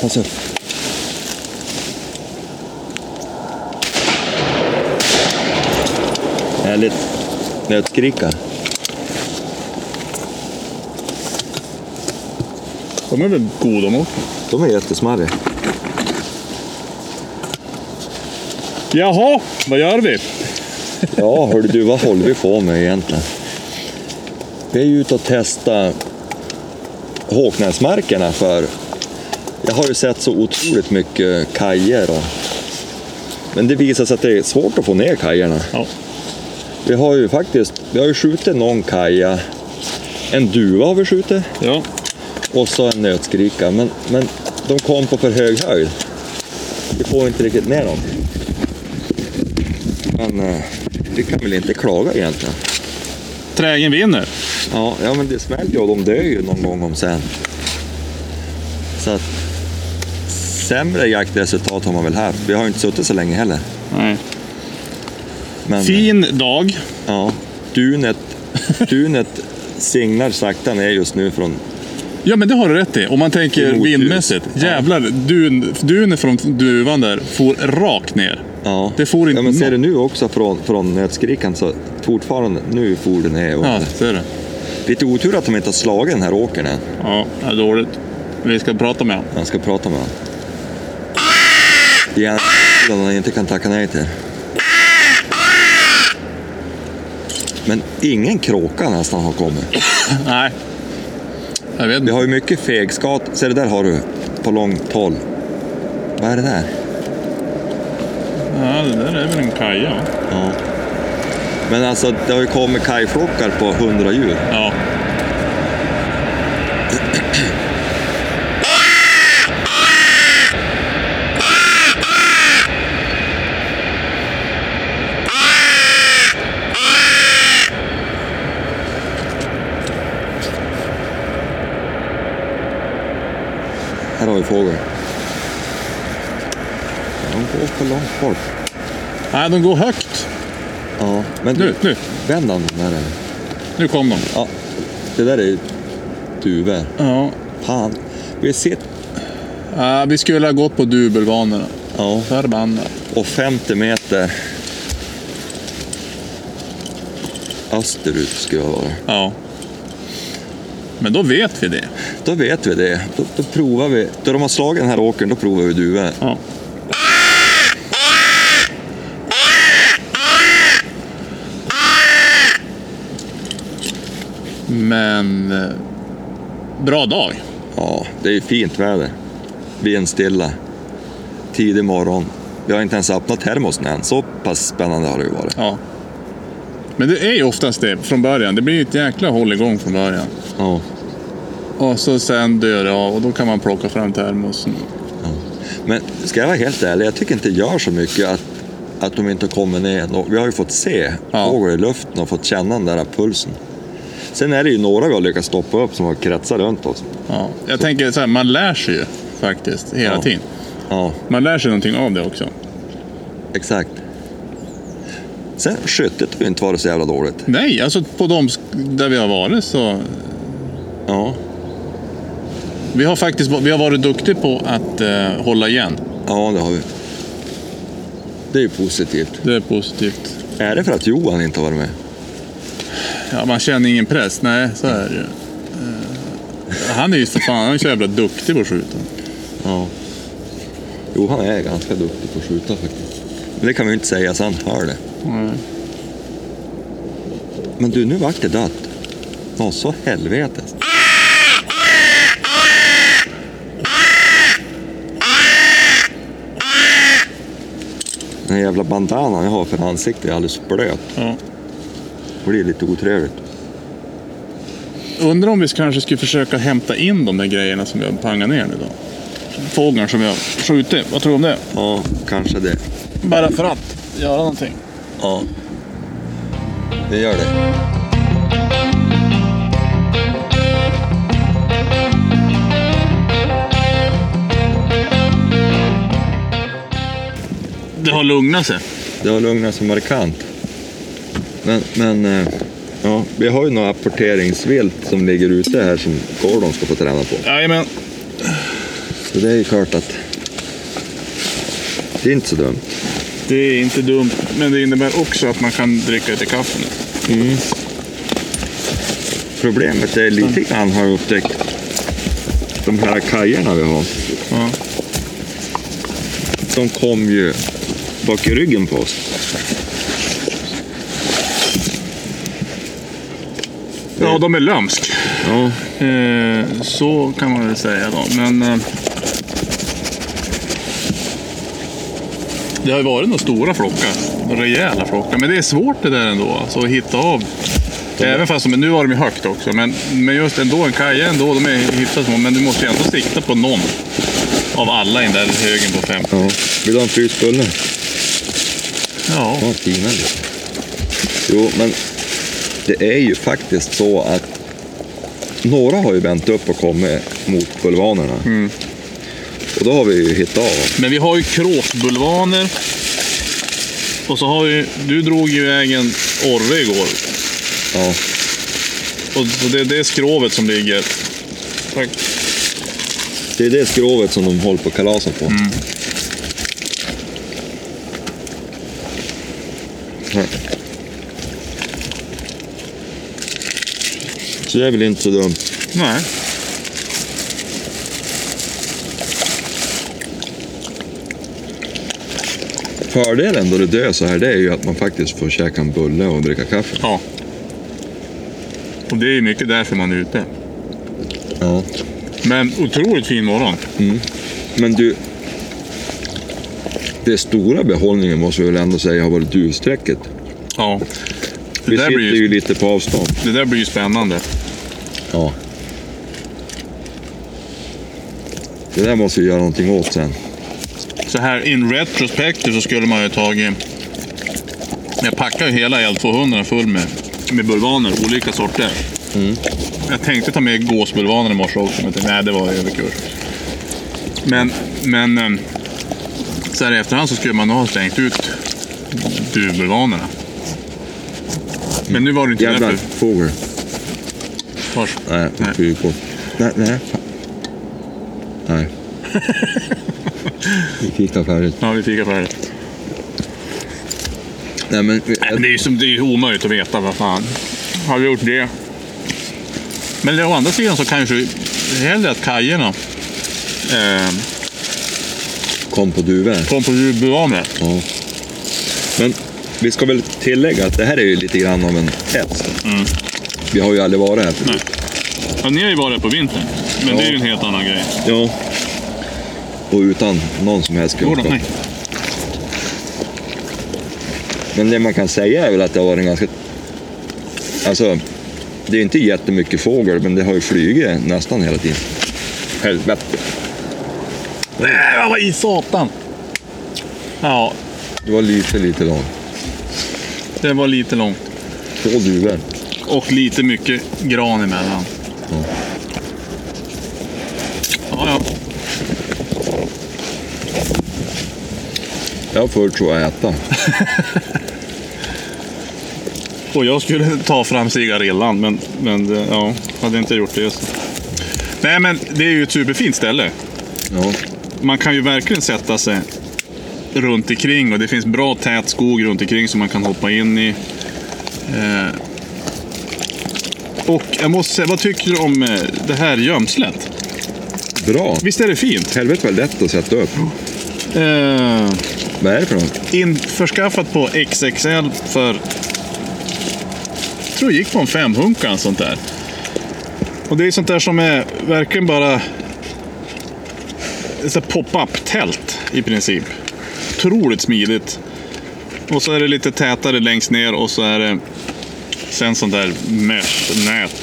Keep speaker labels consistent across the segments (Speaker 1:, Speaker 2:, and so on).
Speaker 1: Pass upp. Härligt. Nötskrika.
Speaker 2: De är väl goda nog.
Speaker 1: De är jättesmarriga.
Speaker 2: Jaha, vad gör vi?
Speaker 1: Ja, hörru du, vad håller vi på med egentligen? Vi är ju ute och testar Håknäsmarkerna för jag har ju sett så otroligt mycket kajer. Och... Men det visar sig att det är svårt att få ner kajerna.
Speaker 2: Ja.
Speaker 1: Vi har ju faktiskt vi har ju skjutit någon kaja. En duva har vi skjutit
Speaker 2: Ja.
Speaker 1: och så en nötskrika. Men, men de kom på för hög höjd. Vi får inte riktigt ner dem. Men eh, vi kan väl inte klaga egentligen.
Speaker 2: Trägen vinner.
Speaker 1: Ja, ja men det smäller ju och de dör ju någon gång om sen. Så att, sämre jaktresultat har man väl haft. Vi har ju inte suttit så länge heller.
Speaker 2: Nej.
Speaker 1: Men,
Speaker 2: Fin dag.
Speaker 1: ja, dunet, dunet singlar sakta ner just nu från...
Speaker 2: Ja, men det har du rätt i. Om man tänker
Speaker 1: Emot
Speaker 2: vindmässigt.
Speaker 1: ljuset. Ja.
Speaker 2: Jävlar, dun, dunet från duvan där for rakt ner.
Speaker 1: Ja,
Speaker 2: Det for inte
Speaker 1: ja men ser
Speaker 2: nå-
Speaker 1: du nu också från, från nötskrikan så fortfarande, nu for den ner. och-
Speaker 2: Ja, ser du.
Speaker 1: Lite otur att de inte har slagit den här åkern än.
Speaker 2: Ja, det är dåligt. Vi ska prata med honom.
Speaker 1: Jag ska prata med honom. Det är en han inte kan tacka nej till. Men ingen kråka nästan har kommit.
Speaker 2: Nej. Jag vet
Speaker 1: Vi
Speaker 2: inte.
Speaker 1: har ju mycket fegskat. Se det där har du på långt håll. Vad är det där?
Speaker 2: Ja, det där är väl en kaja? va?
Speaker 1: Ja. Men alltså det har ju kommit kajflockar på hundra djur.
Speaker 2: Ja.
Speaker 1: Här har vi fågel. De går på långt håll.
Speaker 2: Nej, de går högt.
Speaker 1: Ja, men
Speaker 2: Nu, nu.
Speaker 1: Vänd han den där. eller?
Speaker 2: Nu kom de.
Speaker 1: Ja, det där är ju duvor.
Speaker 2: Ja.
Speaker 1: Fan, vi sitter...
Speaker 2: Ja, vi skulle ha gått på dubbelbanorna.
Speaker 1: Ja,
Speaker 2: Förbannat.
Speaker 1: och 50 meter österut skulle jag vara.
Speaker 2: Ja. Men då vet vi det.
Speaker 1: Då vet vi det. Då, då provar vi. Då de har slagit den här åkern, då provar vi duvor.
Speaker 2: Ja. Men... eh, Bra dag.
Speaker 1: Ja, det är ju fint väder. Vindstilla. Tidig morgon. Vi har inte ens öppnat termosen än. Så pass spännande har det ju varit.
Speaker 2: Ja. Men det är ju oftast det från början. Det blir ju ett jäkla hålligång från början.
Speaker 1: Ja.
Speaker 2: Och så sen dör det av och då kan man plocka fram termosen.
Speaker 1: Men ska jag vara helt ärlig, jag tycker inte det gör så mycket att, att de inte kommer ner. än. Och Vi har ju fått se
Speaker 2: Ja.
Speaker 1: fåglar i luften och fått känna den där pulsen. Sen är det ju några vi har lyckats stoppa upp som har kretsat runt oss.
Speaker 2: Ja. Jag tänker så här, man lär sig ju faktiskt hela
Speaker 1: Ja.
Speaker 2: tiden.
Speaker 1: Ja,
Speaker 2: Man lär sig någonting av det också.
Speaker 1: exakt. Sen skyttet har ju inte varit så jävla dåligt.
Speaker 2: Nej, alltså på de sk- där vi har varit så...
Speaker 1: Ja,
Speaker 2: Vi har faktiskt va- vi har varit duktiga på att eh, hålla igen.
Speaker 1: ja det har vi. Det är ju positivt.
Speaker 2: Det är positivt.
Speaker 1: Är det för att Johan inte har varit med?
Speaker 2: Ja, man känner ingen press. Nej, så är det ju. Eh, Han är ju för fan han är så jävla duktig på att skjuta.
Speaker 1: Ja. Johan är ganska duktig på att skjuta faktiskt. Men det kan vi ju inte säga så han hör det. Men du, nu vart det dött. Nå så helvetes. Den här jävla bandanan jag har för ansiktet är alldeles blöt.
Speaker 2: Ja.
Speaker 1: Och det är lite otrevligt.
Speaker 2: Undrar om vi kanske skulle försöka hämta in de där grejerna som vi har pangat ner nu då. Fågeln som vi har skjutit. Vad tror du om det?
Speaker 1: Ja, kanske det.
Speaker 2: Bara för att göra någonting.
Speaker 1: Ja. Det gör det.
Speaker 2: Det har lugnat sig.
Speaker 1: Det har lugnat sig markant. Men, men eh, ja, vi har ju några apporteringsvilt som ligger ute här som Gordon ska få träna på.
Speaker 2: Jajamän.
Speaker 1: Så det är ju klart att det är inte så dumt.
Speaker 2: Det är inte dumt, men det innebär också att man kan dricka lite kaffe nu.
Speaker 1: Problemet är lite grann har jag upptäckt de här kajerna vi har.
Speaker 2: Ja.
Speaker 1: De kom ju bak i ryggen på oss.
Speaker 2: ja, de är lömsk.
Speaker 1: Ja,
Speaker 2: Eh, så kan man väl säga då. Men... Eh, det har ju varit några stora flockar. Rejäla flockar. Men det är svårt det där ändå. Alltså, att hitta av. Även fast men nu var de ju högt också. Men, men just ändå, en kaja ändå. De är hyfsat små. Men du måste ju ändå sikta på någon av alla i den där högen på fem.
Speaker 1: ja. Vill du ha en fryst bulle?
Speaker 2: Ja,
Speaker 1: Ja, fina lite. Jo, men det är ju faktiskt så att några har ju vänt upp och kommit mot bulvanerna. Och då har vi ju hittat av.
Speaker 2: men vi har ju kråsbulvaner. Och så har vi, du drog ju iväg en orre igår.
Speaker 1: Ja,
Speaker 2: Och så det, det är skrovet som ligger. Tack.
Speaker 1: det är det skrovet som de håller på kalasen på. Ja. Så det är väl inte så dumt.
Speaker 2: Nej.
Speaker 1: Fördelen då det dör så här, det är ju att man faktiskt får käka en bulle och dricka kaffe.
Speaker 2: Ja. Och det är ju mycket därför man är ute.
Speaker 1: Ja.
Speaker 2: Men otroligt fin morgon.
Speaker 1: Men du, det stora behållningen måste vi väl ändå säga har varit duvsträcket.
Speaker 2: Ja. Det
Speaker 1: Vi
Speaker 2: där,
Speaker 1: sitter
Speaker 2: blir ju,
Speaker 1: ju lite på avstånd.
Speaker 2: det där blir ju spännande.
Speaker 1: Ja. Det där måste vi göra någonting åt sen.
Speaker 2: Så här in retrospective så skulle man ju tagit... Jag packade ju hela L200 full med, med bulvaner, olika sorter.
Speaker 1: Mm.
Speaker 2: Jag tänkte ta med gåsbulvaner i morse också, men jag tänkte, nej det var överkurs. Men, men eh, så här i efterhand så skulle man nog ha slängt ut duvbulvanerna. Men nu var det inte
Speaker 1: Jävlar,
Speaker 2: därför.
Speaker 1: fågel.
Speaker 2: Vars.
Speaker 1: Nej,
Speaker 2: Nej.
Speaker 1: nej. Nej, nej. fan. Nej. Vi fikar färdigt.
Speaker 2: Ja, vi fikar färdigt.
Speaker 1: Nej, men
Speaker 2: Nej, men det är ju som, det är ju omöjligt att veta vad fan. Har vi gjort det? Men å andra sidan så kanske hellre att kajerna eh,
Speaker 1: kom på duvor.
Speaker 2: kom på duvbulvaner.
Speaker 1: Ja. Men vi ska väl tillägga att det här är ju lite grann av en hets.
Speaker 2: Mm.
Speaker 1: Vi har ju aldrig varit här förut.
Speaker 2: Ja, ni har ju varit på vintern, men det är ju
Speaker 1: Ja.
Speaker 2: en helt annan grej.
Speaker 1: Ja. Och utan någon som helst
Speaker 2: Jo då,
Speaker 1: kunskap.
Speaker 2: nej.
Speaker 1: Men det man kan säga är väl att det har varit en ganska... Alltså, det är inte jättemycket fågel, men det har ju flugit nästan hela tiden. Helvete.
Speaker 2: Nej, vad i satan! Ja,
Speaker 1: Det var lite, lite långt.
Speaker 2: det var lite långt.
Speaker 1: Två duvor.
Speaker 2: Och lite mycket gran emellan.
Speaker 1: Ja.
Speaker 2: Ja, ja.
Speaker 1: Jag har fullt så att äta.
Speaker 2: Och jag skulle ta fram cigarillan, men, men det- ja, hade inte gjort det. Så. Nej, men det är ju ett superfint ställe.
Speaker 1: Ja.
Speaker 2: Man kan ju verkligen sätta sig runt omkring och det finns bra tät skog runt omkring som man kan hoppa in i. Eh, och jag måste säga, vad tycker du om eh, det här gömslet?
Speaker 1: Bra.
Speaker 2: Visst är det fint?
Speaker 1: Helvete vad lätt att sätta upp.
Speaker 2: Eh,
Speaker 1: Vad är det för något?
Speaker 2: införskaffat på XXL för... Jag tror det gick på en femhunka eller sånt där. Och det är sånt där som är verkligen bara... Ett sånt där pop-up-tält i princip. Otroligt smidigt. Och så är det lite tätare längst ner och så är det sen sånt där mesh-nät.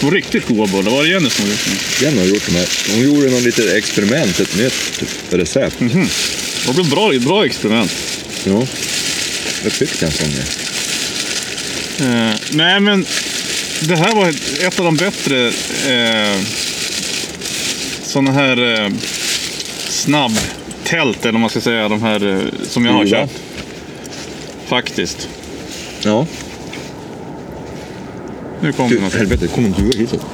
Speaker 2: De var riktigt goda bullar. Var det Jenny som gjorde det?
Speaker 1: Jenny har gjort de här. Hon gjorde något litet experiment, ett nytt recept.
Speaker 2: Det blev bra, bra experiment.
Speaker 1: Ja. Jag tyckte en sån är.
Speaker 2: Eh, nej, men det här var ett av de bättre eh, sådana här eh, snabbtält tält, eller vad man ska säga, de här eh, som jag har
Speaker 1: Gula.
Speaker 2: köpt. Faktiskt.
Speaker 1: Ja.
Speaker 2: Nu kommer
Speaker 1: Du,
Speaker 2: något.
Speaker 1: helvete, kom en duva hitåt.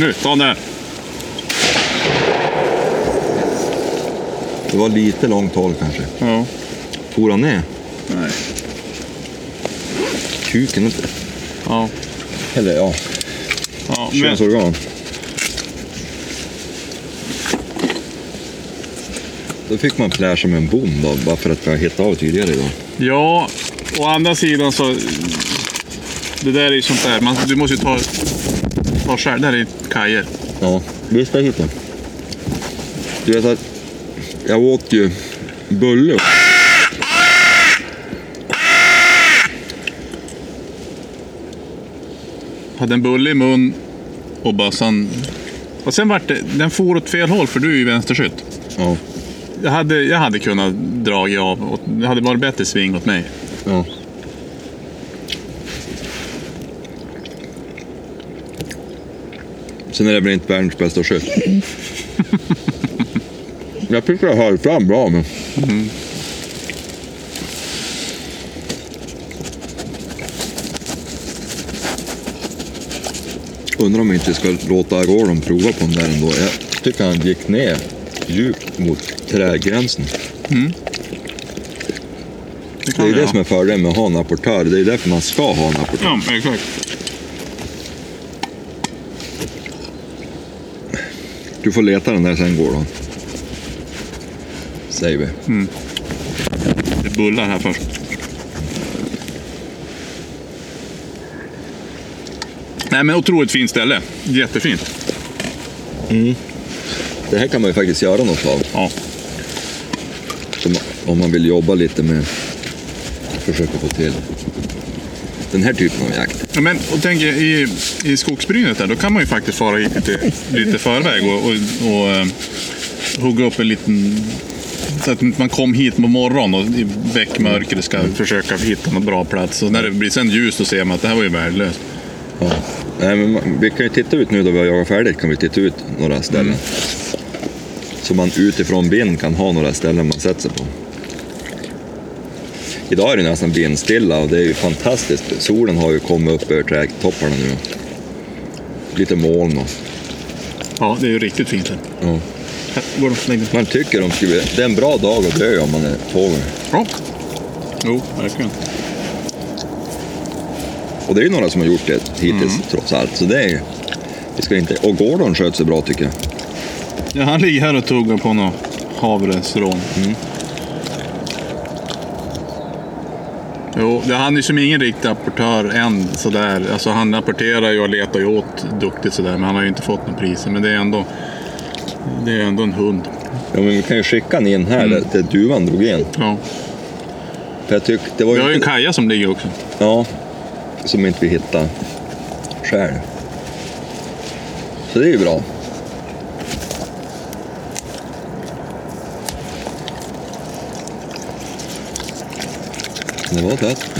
Speaker 2: Nu, ta den där.
Speaker 1: Det var lite långt håll kanske.
Speaker 2: Ja.
Speaker 1: For han ner?
Speaker 2: Nej.
Speaker 1: Kuken? inte.
Speaker 2: Ja.
Speaker 1: Eller ja,
Speaker 2: ja. Men,
Speaker 1: könsorgan. Då fick man plär som en bom då, bara för att vi har hittat av tidigare idag.
Speaker 2: ja, å andra sidan så... Det där är ju sånt där. Man, du måste ju ta, ta själv. Det här är kajer.
Speaker 1: Ja, visst det hittade Du vet att jag åt ju bulle.
Speaker 2: Hade en bulle i mun och bössan... Och sen vart det... Den for åt fel håll, för du är ju vänsterskytt.
Speaker 1: Ja,
Speaker 2: Jag hade, jag hade kunnat dra av. åt- Det hade varit bättre sving åt mig.
Speaker 1: ja. Sen är det väl inte världens bästa skytt. Jag tycker jag höll fram bra men... Undrar om vi inte ska låta Gordon prova på den där ändå. Jag tycker han gick ner djupt mot trägränsen.
Speaker 2: Det
Speaker 1: Det är
Speaker 2: kan
Speaker 1: ju
Speaker 2: jag.
Speaker 1: det som är fördelen med att ha en apportör. Det är därför man ska ha en apportör.
Speaker 2: Ja, exakt.
Speaker 1: Du får leta den där sen Gordon. Säger vi.
Speaker 2: Det bullar här först. Nej men otroligt fint ställe. Jättefint.
Speaker 1: Det här kan man ju faktiskt göra något av.
Speaker 2: Ja.
Speaker 1: Som om man vill jobba lite med försöka få till den här typen av jakt.
Speaker 2: Ja, Men, och tänk i, i skogsbrynet där, då kan man ju faktiskt fara hit lite, lite förväg och, och, och eh, hugga upp en liten... Så att man kom hit på morgonen och i väckmörkret ska försöka hitta någon bra plats. Och när det blir sen ljus då ser man att det här var ju värdelöst.
Speaker 1: Ja. Nej, men man, vi kan ju titta ut nu då vi har jagat färdigt kan vi titta ut några ställen. Så man utifrån vind kan ha några ställen man sätter sig på. Idag är det nästan vindstilla och det är ju fantastiskt. Solen har ju kommit upp över trädtopparna nu. Lite moln och...
Speaker 2: Ja, det är ju riktigt fint här.
Speaker 1: Ja.
Speaker 2: Här, går de längre.
Speaker 1: Man tycker de skulle... Det är en bra dag att dö om man är fågel.
Speaker 2: Ja. Jo, verkligen.
Speaker 1: Och det är ju några som har gjort det hittills
Speaker 2: Mm.
Speaker 1: trots allt. Så det är ju... Vi ska inte... Och Gordon sköt sig bra tycker jag.
Speaker 2: Ja, han ligger här och tuggar på någon Mm. havresron. Jo, det, han är som ingen riktig rapportör än sådär. Alltså, han rapporterar ju och letar ju åt duktigt sådär, men han har ju inte fått några priser. Men det är ändå, det är ändå en hund.
Speaker 1: Ja, men vi kan ju skicka den in här
Speaker 2: Mm.
Speaker 1: där, där duvan drog in.
Speaker 2: Ja.
Speaker 1: För jag tyckte... Det var
Speaker 2: Vi
Speaker 1: ju
Speaker 2: har ju en
Speaker 1: inte...
Speaker 2: kaja som ligger också.
Speaker 1: Ja. Som inte vi hittade själv. Så det är ju bra. Det var tätt.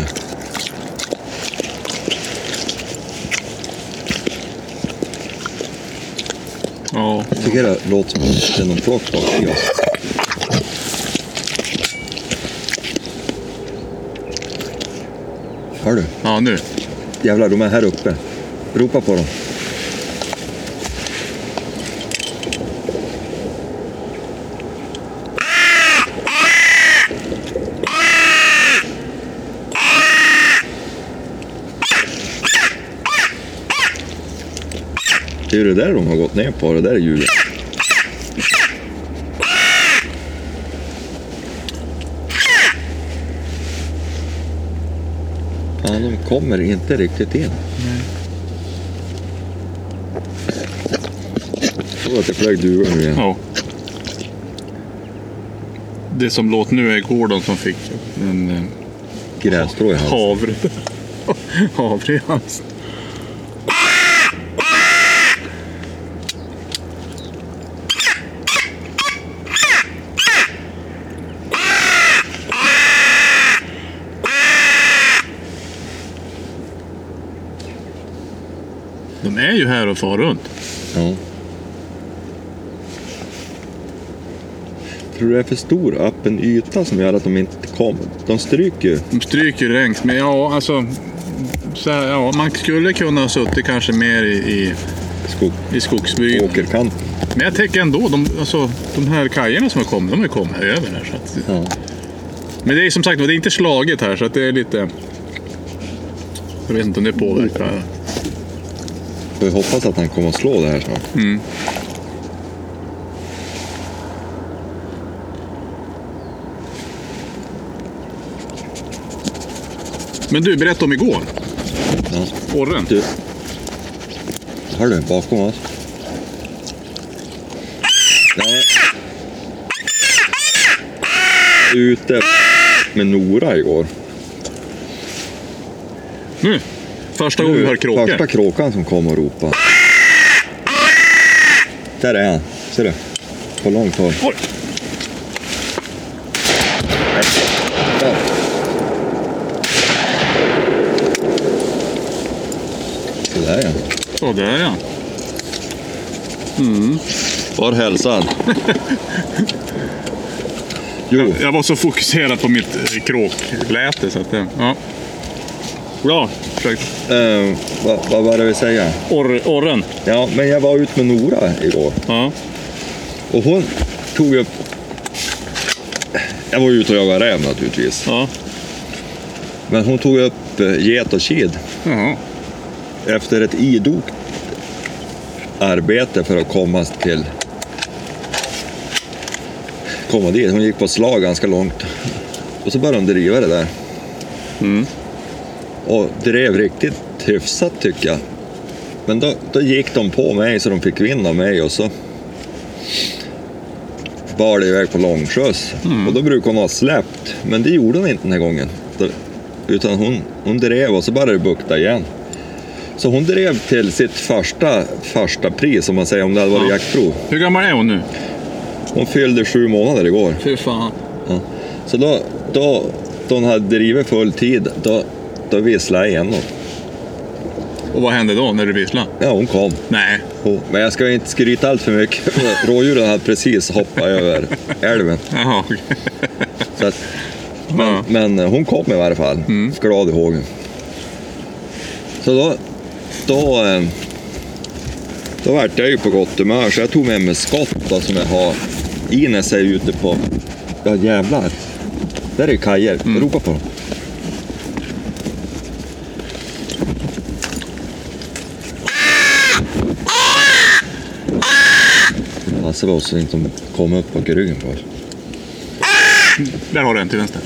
Speaker 2: Ja.
Speaker 1: Jag tycker det låter som att det är någon flock bakom oss. Hör du?
Speaker 2: ja, nu.
Speaker 1: Jävlar, de är här uppe. Ropa på dem. Det är ju det där de har gått ner på, det där är hjulet. Fan, de kommer inte riktigt in. Jag tror att det flög duvor nu igen.
Speaker 2: Ja. Det som låter nu är Gordon som fick en eh,
Speaker 1: Grässtrå i halsen.
Speaker 2: havre. havre i halsen. De de är ju här och far runt.
Speaker 1: Ja. Tror du det är för stor öppen yta som gör att de inte kommer? De stryker ju.
Speaker 2: De stryker ju längs, men ja, alltså... Så här, ja, man skulle kunna ha suttit kanske mer i, i,
Speaker 1: skog
Speaker 2: i skogsbyn.
Speaker 1: åkerkant.
Speaker 2: Men jag tänker ändå, de, alltså, de här kajerna som har kommit, de har ju kommit över här. Så att,
Speaker 1: Ja.
Speaker 2: men det är som sagt det är inte slaget här, så att det är lite... Jag vet inte om det påverkar.
Speaker 1: Får vi hoppas att han kommer att slå det här snart.
Speaker 2: Mm. Men du, berätta om igår.
Speaker 1: Ja.
Speaker 2: Orren.
Speaker 1: Du. Hör du, bakom oss. Nej. Ute med Nora igår.
Speaker 2: Nu. Första gången vi hör kråkor.
Speaker 1: Mm. Första kråkan som kom och ropade. Där är han. Ser du? På långt håll.
Speaker 2: Oj.
Speaker 1: Där. Så där ja.
Speaker 2: Så, där ja. Mm.
Speaker 1: Var hälsad. jo,
Speaker 2: Jag var så fokuserad på mitt eh, kråkläte så att det... Ja. Bra. Försökt.
Speaker 1: eh, vad, vad var det vi säga?
Speaker 2: Orr, orren.
Speaker 1: Ja, men jag var ute med Nora igår.
Speaker 2: Ja.
Speaker 1: Och hon tog upp... Jag var ju ute och jagade räv naturligtvis.
Speaker 2: Ja.
Speaker 1: Men hon tog upp eh, get och kid
Speaker 2: Jaha.
Speaker 1: efter ett idogt arbete för att komma till... Komma dit. Hon gick på slag ganska långt. Och så började hon driva det där.
Speaker 2: Mm.
Speaker 1: Och drev riktigt hyfsat tycker jag. Men då, då gick de på mig så de fick vinna mig och så bar det iväg på långskjuts. Och då brukar hon ha släppt, men det gjorde hon inte den här gången. Då- Utan hon, hon drev och så började det bukta igen. Så hon drev till sitt första, första pris om man säger om det hade varit
Speaker 2: Ja.
Speaker 1: jaktprov.
Speaker 2: Hur gammal är hon nu?
Speaker 1: Hon fyllde sju månader igår.
Speaker 2: Fy fan.
Speaker 1: Ja. Så då, då, då hon hade drivit full tid, då, då visslade jag igen hon.
Speaker 2: Och vad hände då när du visslade?
Speaker 1: Ja, hon kom.
Speaker 2: Nej.
Speaker 1: Jo, Men jag ska ju inte skryta allt för mycket. för Rådjuren hade precis hoppat över älven.
Speaker 2: Jaha. okej.
Speaker 1: Så att,
Speaker 2: Ja.
Speaker 1: men eh, hon kom i varje fall, glad i hågen. Så då, då, eh, då vart jag ju på gott humör så jag tog med mig skott då, som jag har i när jag är ute på... Ja jävlar. Där är ju kajer. Ropa på dem. Passa oss så inte de kommer upp bak i ryggen på oss.
Speaker 2: Där har du en till vänster.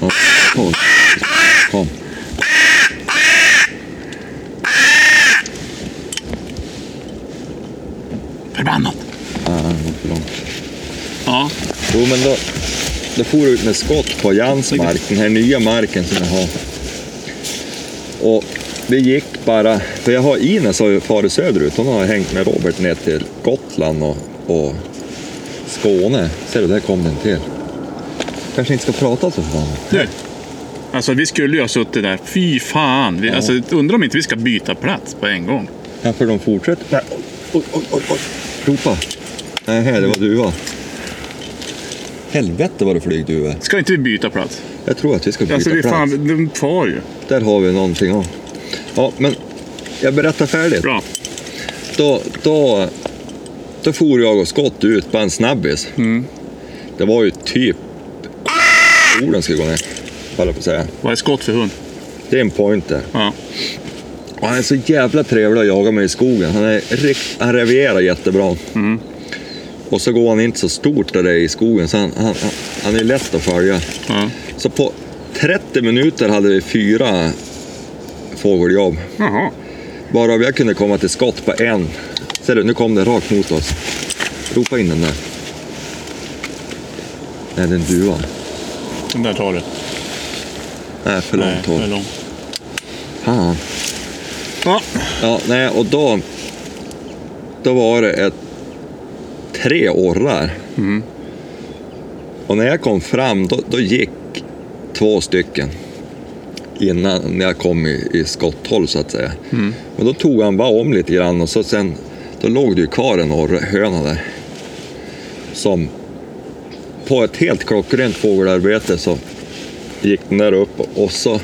Speaker 1: Ja, Kom. Kom.
Speaker 2: Förbannat.
Speaker 1: Ah, han går för långt.
Speaker 2: Ja.
Speaker 1: Jo, men då, då for jag ut med skott på Jans mark, den här nya marken som jag har. Och det gick bara, för jag har Ines har ju farit söderut, hon har hängt med Robert ner till Gotland och, och Skåne. Ser du, där kom den till. Kanske inte ska prata så förbannat.
Speaker 2: Du. Alltså vi skulle ju ha suttit där. Fy fan. Vi, alltså, undrar om inte vi ska byta plats på en gång.
Speaker 1: Ja, för de fortsätter. Nej, oj, oj, oj, oj. Ropa. Nej, här, det var duva. Helvete vad det flög duvor.
Speaker 2: Ska inte vi byta plats?
Speaker 1: Jag tror att vi ska byta
Speaker 2: Alltså vi
Speaker 1: plats.
Speaker 2: fan, de far ju.
Speaker 1: Där har vi någonting. Ja. Ja, men jag berättar färdigt.
Speaker 2: Bra.
Speaker 1: Då, då, då for jag och skott ut på en snabbis. Det var ju typ... Solen skulle gå ner, höll jag på att säga.
Speaker 2: Vad är skott för hund?
Speaker 1: Det är en pointer.
Speaker 2: Ja.
Speaker 1: Och han är så jävla trevlig att jaga med i skogen. Han, är, rikt- han revierar jättebra. Och så går han inte så stort där det är i skogen, så han, han, han- han är lätt att följa.
Speaker 2: ja.
Speaker 1: Så på 30 minuter hade vi fyra fågeljobb.
Speaker 2: Jaha.
Speaker 1: Varav jag kunde komma till skott på en. Ser du, nu kom den rakt mot oss. Ropa in den där. Nej, det är en duva.
Speaker 2: Den där tar du.
Speaker 1: Nej, för
Speaker 2: Nej,
Speaker 1: långt
Speaker 2: det är
Speaker 1: håll.
Speaker 2: långt.
Speaker 1: Fan.
Speaker 2: Ja.
Speaker 1: Ja, nej, och då... Då var det ett, tre orrar. Och när jag kom fram, då, då gick två stycken. innan när jag kom i, i skotthåll så att säga. Men då tog han bara om lite grann och så sen, då låg det ju kvar en orrhöna där. Som på ett helt klockrent fågelarbete så gick den där upp och så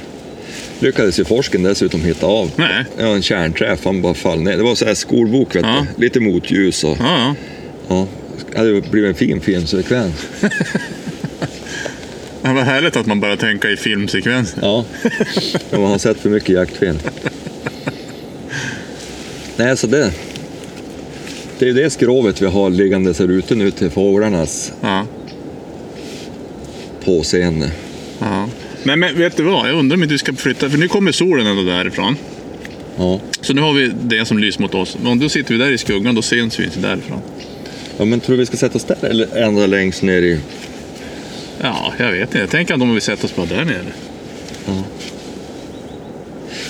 Speaker 1: lyckades ju forsken dessutom hitta av.
Speaker 2: Nej.
Speaker 1: Ja, en kärnträff, han bara fall ner. Det var så här skolbok, vet
Speaker 2: Ja.
Speaker 1: du. lite motljus och
Speaker 2: Ja, ja.
Speaker 1: ja. Det hade blivit en fin filmsekvens.
Speaker 2: Ja, vad härligt att man börjar tänka i filmsekvenser.
Speaker 1: Ja, om man har sett för mycket jaktfilm. Nej, så det... Det är ju det skrovet vi har liggandes här ute nu till fåglarnas
Speaker 2: Ja,
Speaker 1: påseende.
Speaker 2: ja. Nej, men vet du vad? Jag undrar om inte vi ska flytta, för nu kommer solen ändå därifrån.
Speaker 1: Ja.
Speaker 2: Så nu har vi det som lyser mot oss. Men då sitter vi där i skuggan, då syns vi inte därifrån.
Speaker 1: ja, men tror du vi ska sätta oss där eller ända längst ner i...
Speaker 2: Ja, jag vet inte. Jag tänker att de vill sätta oss bara där nere.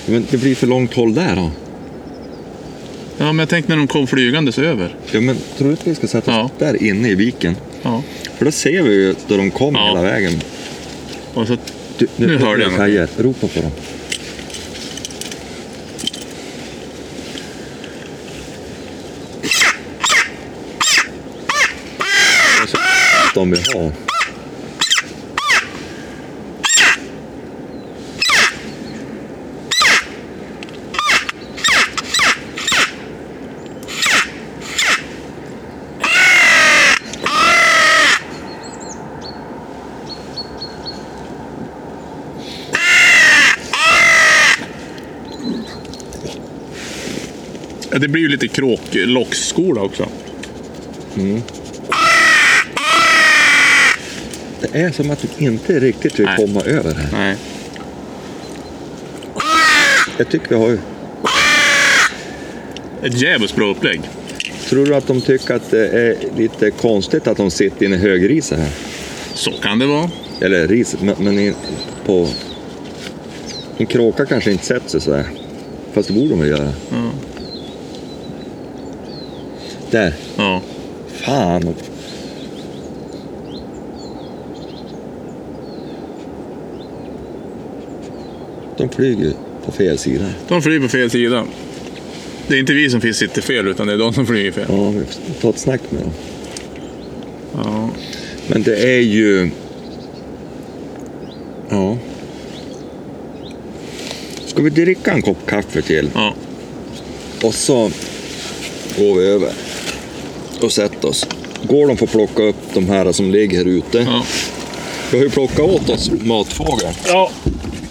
Speaker 1: Men det blir för långt håll där då.
Speaker 2: Ja, men jag tänkte när de kom flygandes över.
Speaker 1: Ja, men tror du att vi ska sätta oss där inne i viken?
Speaker 2: Ja.
Speaker 1: För då ser vi ju då de kommer
Speaker 2: Ja.
Speaker 1: hela vägen.
Speaker 2: Och så,
Speaker 1: Du,
Speaker 2: Nu hörde jag något.
Speaker 1: Kajer, ropa på dem. Och så- De vill ha.
Speaker 2: ja, det blir ju lite kråklocksskola också.
Speaker 1: Det är som att vi inte riktigt vill
Speaker 2: Nej.
Speaker 1: komma över här.
Speaker 2: Nej.
Speaker 1: Jag tycker vi har ju...
Speaker 2: Ett jävligt bra upplägg.
Speaker 1: Tror du att de tycker att det är lite konstigt att de sitter inne i högriset här?
Speaker 2: Så kan det vara.
Speaker 1: Eller riset, men, men i, på... En kråka kanske inte sätter sig sådär. Fast det borde de väl göra.
Speaker 2: Ja.
Speaker 1: Där.
Speaker 2: ja.
Speaker 1: Fan. De flyger på fel sida.
Speaker 2: De flyger på fel sida. Det är inte vi som finns- sitter fel, utan det är de som flyger fel.
Speaker 1: Ja, vi får ta ett snack med dem.
Speaker 2: Ja.
Speaker 1: Men det är ju... Ja. Ska vi dricka en kopp kaffe till?
Speaker 2: ja.
Speaker 1: Och så går vi över och sätter oss. Går de får plocka upp de här som ligger här ute.
Speaker 2: ja.
Speaker 1: Vi har ju plockat åt oss matfågel.
Speaker 2: Ja,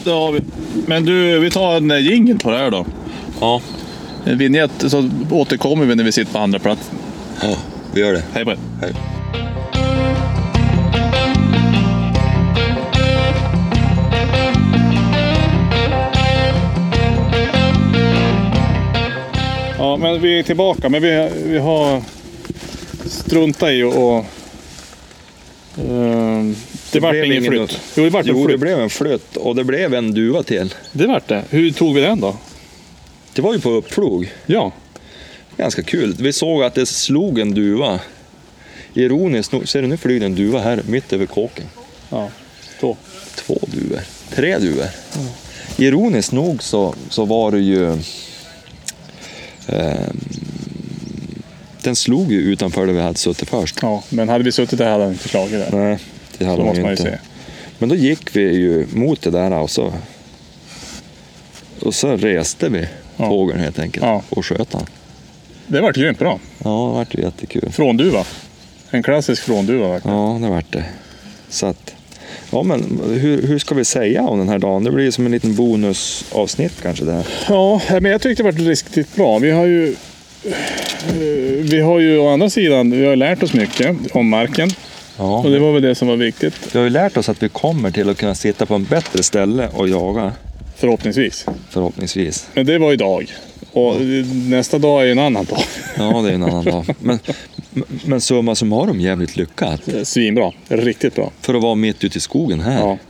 Speaker 2: det har vi. Men du, vi tar en jingel på det här då.
Speaker 1: Ja.
Speaker 2: En vignett, så återkommer vi när vi sitter på andra plats.
Speaker 1: ja, vi gör det.
Speaker 2: Hej på er.
Speaker 1: Hej.
Speaker 2: Ja, men vi är tillbaka, men vi, vi har struntat i och... och ehm, det vart
Speaker 1: blev
Speaker 2: ingen
Speaker 1: ingen
Speaker 2: flytt.
Speaker 1: då.
Speaker 2: Jo, det vart en
Speaker 1: Jo, det
Speaker 2: flytt.
Speaker 1: blev en flytt och det blev en duva till.
Speaker 2: Det vart det. Hur tog vi den då?
Speaker 1: Det var ju på uppflog.
Speaker 2: Ja.
Speaker 1: Ganska kul. Vi såg att det slog en duva. Ironiskt nog, ser du nu flyger det en duva här mitt över kåken.
Speaker 2: ja. Då.
Speaker 1: Två duvor, tre duvor. Ironiskt nog så, så var det ju... ehm, den slog ju utanför där vi hade suttit först.
Speaker 2: Ja, men hade vi suttit där hade den inte slagit där.
Speaker 1: Nej, det hade
Speaker 2: Så
Speaker 1: de
Speaker 2: måste man ju
Speaker 1: inte.
Speaker 2: se.
Speaker 1: Men då gick vi ju mot det där och så, och så reste vi
Speaker 2: Ja.
Speaker 1: fågeln helt enkelt
Speaker 2: Ja.
Speaker 1: och sköt han.
Speaker 2: Det vart grymt bra.
Speaker 1: Ja, det vart ju jättekul.
Speaker 2: Frånduva. En klassisk frånduva. verkligen.
Speaker 1: Ja, det vart det. Så att, ja, men hur, hur ska vi säga om den här dagen? Det blir ju som en liten bonusavsnitt kanske det här.
Speaker 2: Ja, men jag tyckte det var riktigt bra. Vi har ju... eh, Vi har ju å andra sidan vi har lärt oss mycket om marken.
Speaker 1: Ja.
Speaker 2: Och det var väl det som var viktigt,
Speaker 1: Vi har ju lärt oss att vi kommer till att kunna sitta på en bättre ställe och jaga,
Speaker 2: förhoppningsvis.
Speaker 1: förhoppningsvis.
Speaker 2: Men det var idag. Och eh, nästa dag är ju en annan dag.
Speaker 1: Ja, det är en annan dag. Men, men summa summarum jävligt lyckat.
Speaker 2: Svinbra. Riktigt bra.
Speaker 1: För att vara mitt ute i skogen här.
Speaker 2: Ja.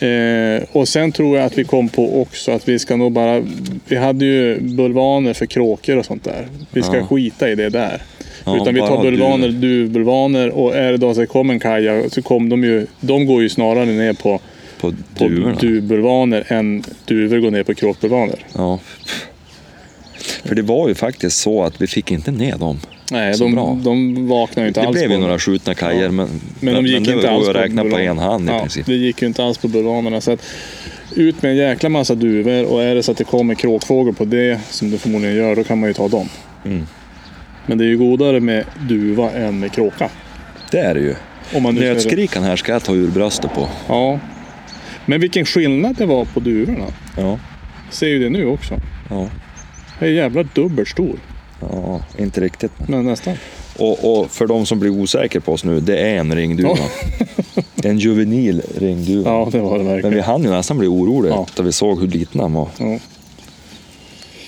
Speaker 2: Eh, och sen tror jag att vi kom på också att vi ska nog bara... Vi hade ju bulvaner för kråkor och sånt där. Vi ska
Speaker 1: Ja.
Speaker 2: skita i det där.
Speaker 1: Ja,
Speaker 2: Utan vi
Speaker 1: bara
Speaker 2: tar bulvaner, duvbulvaner och är det då så kommer en kaja så kommer de ju... De går ju snarare ner på,
Speaker 1: på duvorna.
Speaker 2: duvbulvaner än duvor går ner på kråkbulvaner.
Speaker 1: Ja. För det var ju faktiskt så att vi fick inte ner dem.
Speaker 2: Nej,
Speaker 1: Så bra.
Speaker 2: de, de vaknar ju inte
Speaker 1: Det
Speaker 2: alls.
Speaker 1: blev
Speaker 2: på
Speaker 1: ju
Speaker 2: dem.
Speaker 1: några skjutna kajer,
Speaker 2: Ja.
Speaker 1: men,
Speaker 2: Men de gick
Speaker 1: det
Speaker 2: inte
Speaker 1: går
Speaker 2: alls
Speaker 1: ju att räkna på
Speaker 2: bulvanerna.
Speaker 1: en hand i
Speaker 2: ja,
Speaker 1: princip.
Speaker 2: Det gick ju inte alls på bulvanerna. Så att, ut med en jäkla massa duvor och är det så att det kommer kråkfågel på det, som det förmodligen gör, då kan man ju ta dem.
Speaker 1: Mm.
Speaker 2: Men det är ju godare med duva än med kråka.
Speaker 1: Det är det ju.
Speaker 2: Om man nu ska-
Speaker 1: Nötskrikan här ska jag ta ur bröstet på.
Speaker 2: Ja. Men vilken skillnad det var på duvorna.
Speaker 1: Ja,
Speaker 2: Ser ju det nu också.
Speaker 1: ja,
Speaker 2: Jag är jävla dubbelt stor.
Speaker 1: ja inte riktigt. men-
Speaker 2: Men nästan.
Speaker 1: Och, och för de som blir osäkra på oss nu, det är en ringduva.
Speaker 2: Ja.
Speaker 1: en juvenil ringduva.
Speaker 2: Ja, det var det
Speaker 1: Men vi
Speaker 2: verkligen.
Speaker 1: hann ju nästan bli oroliga
Speaker 2: Ja.
Speaker 1: när vi såg hur liten han var.
Speaker 2: Ja,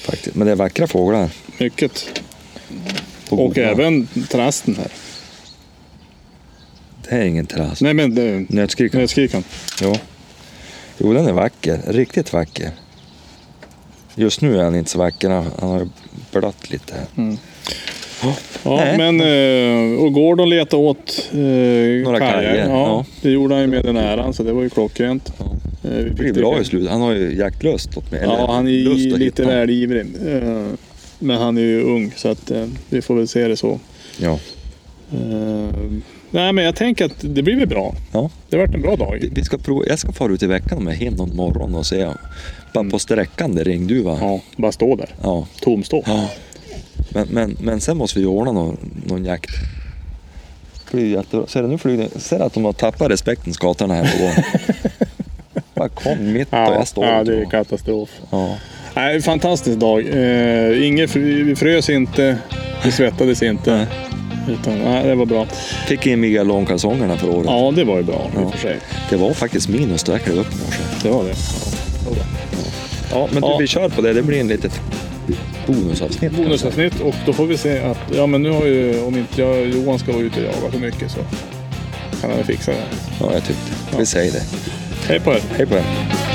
Speaker 1: Faktiskt. Men det är vackra fåglar.
Speaker 2: mycket.
Speaker 1: på
Speaker 2: Och
Speaker 1: bodarna.
Speaker 2: även trasten här.
Speaker 1: Det är ingen terrass.
Speaker 2: Nej, men det-
Speaker 1: Nötskrikan.
Speaker 2: nötskrikan.
Speaker 1: Ja. Jo, den är vacker. Riktigt vacker. Just nu är han inte så vacker. Han han har ju blött lite. här.
Speaker 2: Mm. Ja,
Speaker 1: Nej.
Speaker 2: men eh, och Gordon letade åt eh, Några
Speaker 1: kajer,
Speaker 2: Ja,
Speaker 1: ja.
Speaker 2: Det gjorde han ju med den äran, så det var ju klockrent. Eh, vi
Speaker 1: Det
Speaker 2: fick
Speaker 1: blir bra
Speaker 2: dricka-
Speaker 1: i slutet. Han har ju jaktlust. åt mig.
Speaker 2: Ja,
Speaker 1: Eller
Speaker 2: han är
Speaker 1: lust
Speaker 2: ju
Speaker 1: att
Speaker 2: lite
Speaker 1: hitta.
Speaker 2: väligivrig. Eh, men han är ju ung, så att, eh, vi får väl se det så.
Speaker 1: Ja.
Speaker 2: Eh, nej, men jag tänker att det blir väl bra.
Speaker 1: ja.
Speaker 2: Det vart en bra dag.
Speaker 1: Vi- Vi ska prova. Jag ska fara ut i veckan om jag hinner någon morgon och se. Bara på sträckan det ringduva.
Speaker 2: Ja, bara stå där.
Speaker 1: Ja.
Speaker 2: Tomstå.
Speaker 1: ja. Men, men, men sen måste vi ju ordna någon, någon jakt. Det blir ju jättebra. Ser du nu flyger den- Ser du att de har tappat respekten skatarna här på gården? Bara kom mitt och
Speaker 2: Ja,
Speaker 1: jag står
Speaker 2: ja,
Speaker 1: inte
Speaker 2: det är
Speaker 1: på.
Speaker 2: katastrof.
Speaker 1: Ja.
Speaker 2: Nej, fantastisk dag. Eh, inget, vi frös inte, vi svettades inte. Utan, nej, det var bra.
Speaker 1: Fick in Miguel Långkalsongerna för året.
Speaker 2: Ja, det var ju bra i
Speaker 1: Ja.
Speaker 2: och för sig.
Speaker 1: Det var faktiskt minus då jag klev upp i morse.
Speaker 2: Det var det.
Speaker 1: Ja, men
Speaker 2: Ja.
Speaker 1: du, vi kör på det. Det blir en litet bonusavsnitt.
Speaker 2: Bonusavsnitt och då får vi se att ja, men nu har ju om inte jag, Johan ska vara ute och jaga för mycket så kan han väl fixa det.
Speaker 1: Ja, jag tyckte. Vi säger det.
Speaker 2: Hej på er!
Speaker 1: Hej på er.